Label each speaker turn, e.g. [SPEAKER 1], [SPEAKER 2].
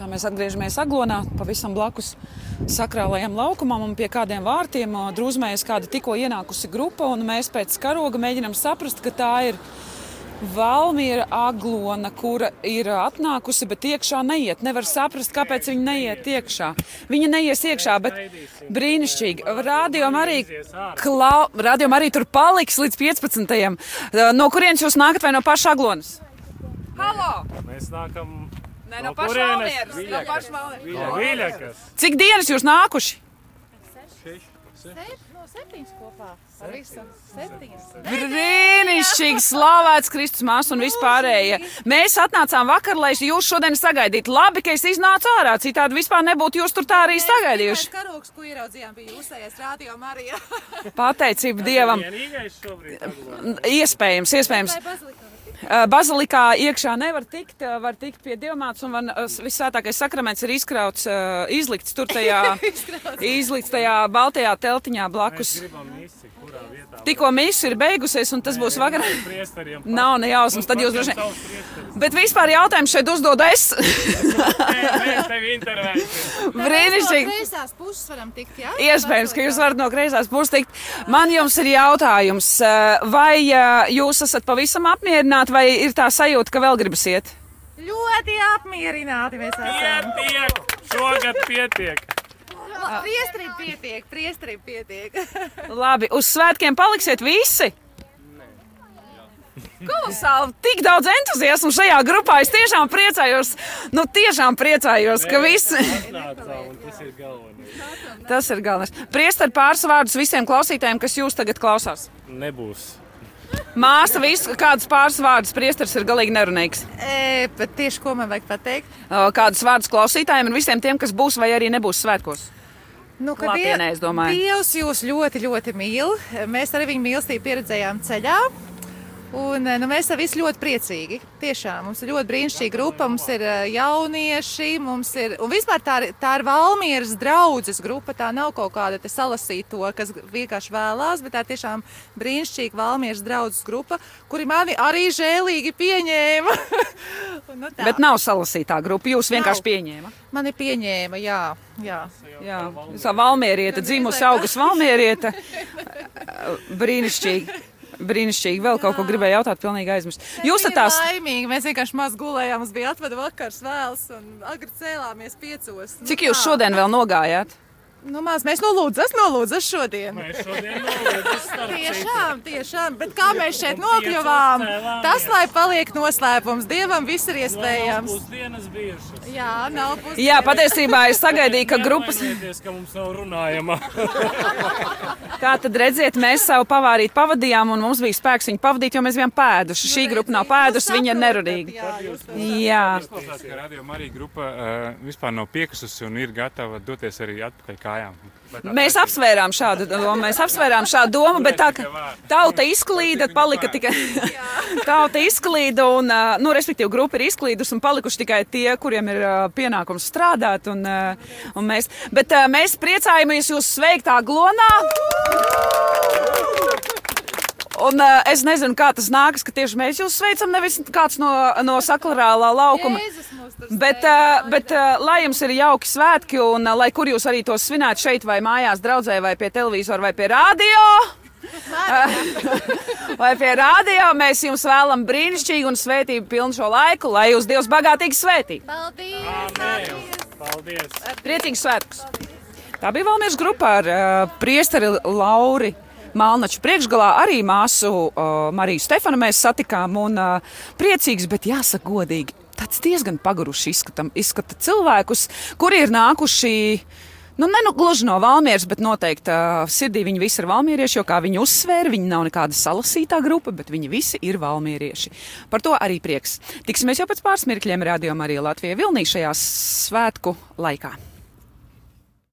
[SPEAKER 1] Tā mēs atgriežamies Aglonā, pavisam blakus sakrālajam laukumam un pie kādiem vārtiem o, drūzmējas kāda tikko ienākusi grupa. un Mēs pēc karoga mēģinām saprast, ka tā ir Valmiera aglona, kura ir atnākusi, bet iekšā neiet. Nevar saprast, kāpēc viņa neiet iekšā. Viņa neies iekšā, bet brīnišķīgi. Rādījumam arī, klau... rādījum arī tur paliks līdz 15. No kurienes jūs nākat vai no paša aglonas? Halo!
[SPEAKER 2] Mēs nākam
[SPEAKER 1] Nē,
[SPEAKER 2] no paša kurienes? Valmieras, no
[SPEAKER 1] No paša Valmieras.
[SPEAKER 2] no Viļakas.
[SPEAKER 1] Cik dienas jūs nākuši?
[SPEAKER 3] No septiņas kopā. Ar visu septiņas.
[SPEAKER 1] Brīnišķīgi slavēts Kristus māsas un vispārējie. Mēs atnācām vakar, lai jūs šodien sagaidītu. Labi, ka es iznācu ārā, citādi vispār nebūtu jūs tur tā arī sagaidījuši.
[SPEAKER 3] Karoks, ko ieraudzījām, bija jūsējais rādio Marija.
[SPEAKER 1] Pateicība Dievam.
[SPEAKER 2] Vienīgais šobrīd. Aglona.
[SPEAKER 1] Iespējams, iespējams.
[SPEAKER 3] Vai bazilika?
[SPEAKER 1] Eh, Bazilikā iekšā nevar tikt, eh, var tikt pie dievmāts, un van- eh, visvētākais sakraments ir izkrauts, eh, izlikts tur tajā, izlikts tajā baltajā teltiņā
[SPEAKER 2] Mēs
[SPEAKER 1] blakus.
[SPEAKER 2] gribam misi, kurā vietā.
[SPEAKER 1] Tikko mīsa ir beigusies, un tas būs vakarā.
[SPEAKER 2] Priesteriem.
[SPEAKER 1] Nav ne jausmas, tad jūs droši vien. Bet vispār jautājumu šeit uzdod es.
[SPEAKER 2] Mēs tev intervēsim.
[SPEAKER 3] No
[SPEAKER 1] Brīnišķīgi.
[SPEAKER 3] kreisās puses varam tikt, jā?
[SPEAKER 1] Iespējams, ka jūs varat no greizās puses tikt. Man jums ir jautājums, eh, vai eh, jūs esat pavisam apmierināti, vai ir tā sajūta, ka vēl gribas iet?
[SPEAKER 3] Ļoti apmierināti mēs esam.
[SPEAKER 2] Pietiek! Šogad pietiek.
[SPEAKER 3] La- Priestrim pietiek, priestrim pietiek.
[SPEAKER 1] Labi, uz svētkiem paliksiet visi! Kolosāli, tik daudz entuziasmu šajā grupā. Es tiešām priecājos, nu tiešām priecājos, ka visi.
[SPEAKER 2] Nācā, un tas ir galvenais.
[SPEAKER 1] Tas ir galvenais. Priest ar pāris vārdus visiem klausītājiem, kas jūs tagad klausās.
[SPEAKER 2] Nebūs.
[SPEAKER 1] Māsa, visu, kādus pāris vārdus priesteris ir galīgi nerunīgs.
[SPEAKER 3] E, bet tieši ko man vajag pateikt?
[SPEAKER 1] O, Kādus vārdus klausītājiem un visiem tiem, kas būs vai arī nebūs svētkos.
[SPEAKER 3] Nu, ka
[SPEAKER 1] Klātienē,
[SPEAKER 3] Diev-
[SPEAKER 1] es domāju.
[SPEAKER 3] Dievs jūs ļoti, ļoti mīl. Mēs arī viņu mīlestību pieredzējām ceļā. Un, eh, nu, mēs esam visi ļoti priecīgi. Tiešām mums ir ļoti brīnišķīga grupa. Mums ir eh, jaunieši, mums ir. Un vispār tā, ir- tā ir Valmīras draudzes grupa. Tā nav kaut kāda te salasīto, kas vienkārši vēlās, bet tā ir tiešām brīnišķīga Valmīras draudzes grupa, kuri mani arī žēlīgi pieņēma. Un, nu, tā.
[SPEAKER 1] Bet nav salasītā grupa, jūs vienkārši
[SPEAKER 3] Nav.
[SPEAKER 1] pieņēma.
[SPEAKER 3] Mani pieņēma, jā. jā.
[SPEAKER 1] Jā, jūs esat valmieriete, dzimusi augus valmieriete. Brīnišķīgi. Brīnišķīgi. Vēl kaut ko gribēju jautāt, pilnīgi aizmirst. Jūs esat
[SPEAKER 3] Bija
[SPEAKER 1] tās
[SPEAKER 3] laimīgi. Mēs vienkārši maz gulējām. Mums bija atvada vakars vēls un agri cēlāmies piecos. Nu,
[SPEAKER 1] Cik jūs šodien vēl nogājāt?
[SPEAKER 3] Nu, maz mēs nolūdzam, nolūdzam šodien.
[SPEAKER 2] Mēs šodien nolūdzam starp citu.
[SPEAKER 3] Tiešām, tiešām, bet kā mēs šeit nokļuvām,
[SPEAKER 2] cēlāmies.
[SPEAKER 3] tas lai paliek noslēpums. Dievam viss ir iespējams.
[SPEAKER 2] Pusdienas bijušas.
[SPEAKER 3] Jā, nav pusi.
[SPEAKER 1] Jā, patiesībā es sagaidīju, ka grupas.
[SPEAKER 2] Nemainīties, ka mums nav runājama.
[SPEAKER 1] Tā tad redziet, mēs savu pavārīti pavadījām, un mums bija spēks viņu pavadīt, jo mēs bijām pēduši.
[SPEAKER 3] Nu,
[SPEAKER 1] Šī grupa nav pēdusi, viņa ir nerunīga.
[SPEAKER 3] Jā, jūs to
[SPEAKER 1] Jā,
[SPEAKER 4] Izklausās, ka radio Marija grupa uh, vispār nav piekususi un ir gatava doties arī atpakaļ kājām. Bet
[SPEAKER 1] mēs apsvērām šādu domu, mēs apsvērām šādu domu, bet tā, ka tauta izklīda, palika tikai tauta izklīda, un, ā, nu, respektīvi, grupa ir izklīdus un palikuši tikai tie, kuriem ir ā, pienākums strādāt, un, ā, un mēs, bet ā, mēs priecājamies jūs sveiktā glonā. Un, uh, es nezinu, kā tas nākas, ka tieši mēs jūs sveicam, nevis kāds no, no sakrālā laukuma.
[SPEAKER 3] Jēzus mūs tur
[SPEAKER 1] Bet,
[SPEAKER 3] sveicināja.
[SPEAKER 1] ā, bet ā, lai jums ir jauki svētki, un ā, lai kur jūs arī to svinētu šeit, vai mājās, draudzē, vai pie televizora, vai pie radio. vai pie radio mēs jums vēlam brīnišķīgu un svētību pilnu šo laiku, lai jūs Dievs bagātīgi svētī.
[SPEAKER 3] Paldies!
[SPEAKER 2] Paldies!
[SPEAKER 1] Priecīgs svētkus! Tā bija Valmijas grupa ar uh, priesteri Lauri. Mālnaču priekšgalā arī māsu uh, Mariju Stefanu mēs satikām. Un, uh, priecīgs, bet jāsaka godīgi, tāds diezgan paguruši izskatam, izskata cilvēkus, kuri ir nākuši. Nu, ne nu, gluži no Valmijas, bet noteikti uh, sirdī viņi visi ir valmierieši, jo, kā viņi uzsvēra, viņi nav nekāda salasītā grupa, bet viņi visi ir valmierieši. Par to arī prieks. Tiksimies jau pēc pāris mirkļiem, rādījumā arī Latvijā Vilnī šajā svētku laikā.